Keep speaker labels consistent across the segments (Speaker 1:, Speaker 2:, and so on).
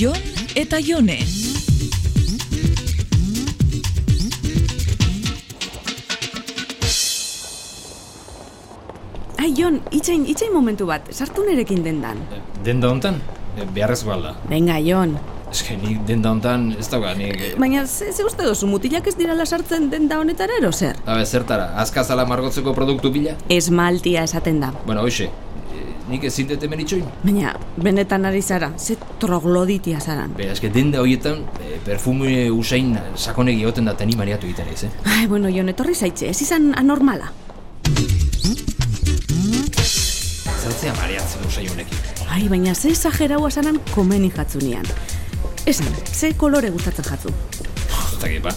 Speaker 1: Jon eta Jone.
Speaker 2: Ai, Jon, itxain, itxain momentu bat, sartu nerekin dendan.
Speaker 3: Denda hontan, e, beharrezkoa alda.
Speaker 2: Venga, Jon.
Speaker 3: Eske ni denda hontan ez dauka nik... e,
Speaker 2: Baina, ze, ze uste dozu, mutilak ez dirala sartzen denda honetara ero zer?
Speaker 3: Habe, zertara, azkazala margotzeko produktu bila?
Speaker 2: Esmaltia esaten da.
Speaker 3: Bueno, hoxe, e, nik ezin dut hemen itxoin.
Speaker 2: Baina, benetan ari zara, ze trogloditia zaran.
Speaker 3: Be, eske denda horietan e, perfume usain sakonegi egoten da teni mariatu egiten ez, eh?
Speaker 2: Ai, bueno, Jon, etorri zaitxe, ez izan anormala.
Speaker 3: Zertzea mariatzen usain honekin.
Speaker 2: Ai, baina ze exageraua zaran komeni jatzunean. Esan, ze kolore gustatzen jatzu?
Speaker 3: Ez dakit, ba.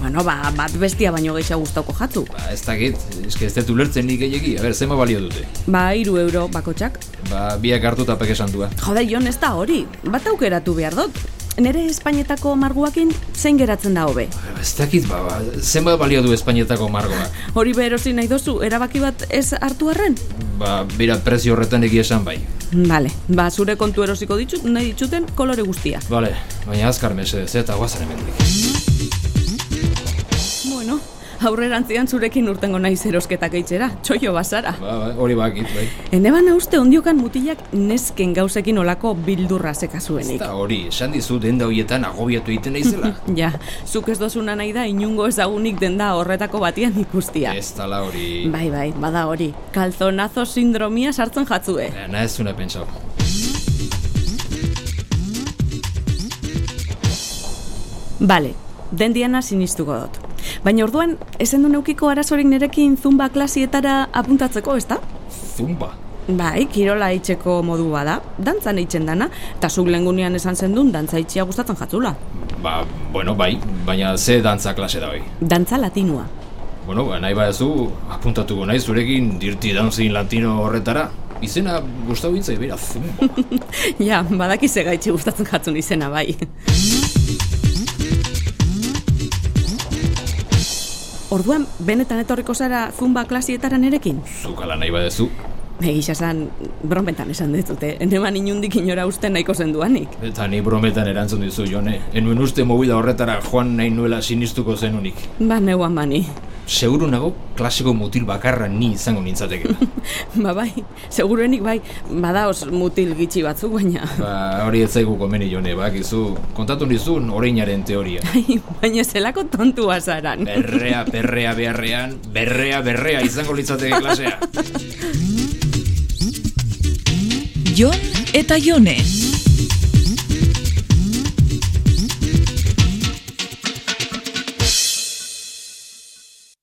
Speaker 2: Bueno, ba, bat bestia baino gehiago gustauko jatzu.
Speaker 3: Ba, ez dakit, eske ez dut ulertzen nik gehiegi. A ber, zema balio dute.
Speaker 2: Ba, iru euro bakotxak.
Speaker 3: Ba, biak hartu eta peke santua.
Speaker 2: Joder, Jon, ez da hori. Bat aukeratu behar dut. Nere Espainetako marguakin zein geratzen da hobe.
Speaker 3: Ba, Ez dakit, ba, ba, zenbat balio du Espainietako margoa.
Speaker 2: Hori berosi nahi dozu, erabaki bat ez hartu arren?
Speaker 3: Ba, bera prezio horretan egia esan bai.
Speaker 2: Bale, ba, zure kontu erosiko ditut, nahi dituten kolore guztia.
Speaker 3: Bale, baina azkar mesedez eh, eta guazen hemendik.
Speaker 2: Bueno, aurrerantzian zurekin urtengo nahi erosketak eitzera, txoio bazara.
Speaker 3: Ba, ba, hori bakit, bai.
Speaker 2: Ene bana uste ondiokan mutilak nesken gauzekin olako bildurra zekazuenik.
Speaker 3: Eta hori, esan dizu denda horietan agobiatu egiten naizela.
Speaker 2: Ja, zuk ez dozuna nahi da inungo ezagunik denda horretako batian ikustia.
Speaker 3: ez tala hori...
Speaker 2: Bai, bai, bada hori. Kalzonazo sindromia sartzen jatzue.
Speaker 3: Eh, Na ez zuna pentsau.
Speaker 2: Bale, dendiana sinistuko dut. Baina orduan, ezen du neukiko arazorik nerekin zumba klasietara apuntatzeko, ezta?
Speaker 3: Zumba.
Speaker 2: Bai, kirola itxeko modu bada, dantzan eitzen dana, eta zuk lengunean esan zendun dantza itxia gustatzen jatzula.
Speaker 3: Ba, bueno, bai, baina ze dantza klase da hori.
Speaker 2: Dantza latinua.
Speaker 3: Bueno, ba, nahi badezu, apuntatuko nahi zurekin dirti dantzin latino horretara. Izena gustau hitzai bera, zumba.
Speaker 2: ja, badaki ze gaitxe gustatzen jatzun izena, bai. Orduan, benetan etorriko zara zumba klasietara nerekin?
Speaker 3: Zukala nahi badezu.
Speaker 2: Egisa esan, brometan esan dezute, eneman inundik inora uste nahiko zenduanik.
Speaker 3: Eta ni brometan erantzun dizu, Jone. Enuen uste mobila horretara joan nahi nuela sinistuko zenunik.
Speaker 2: Ba, neuan bani.
Speaker 3: Seguru nago klasiko mutil bakarra ni izango nintzateke.
Speaker 2: Ba, bai, seguruenik bai, badaoz mutil gitxi batzuk, baina...
Speaker 3: ba, hori ez zaigu komeni, Jone, bakizu. Kontatu nizun oreinaren teoria.
Speaker 2: Ai, bai, baina zelako tontua zaran.
Speaker 3: Berrea, berrea, beharrean, berrea, berrea izango litzateke klasea.
Speaker 1: Jon eta Jone.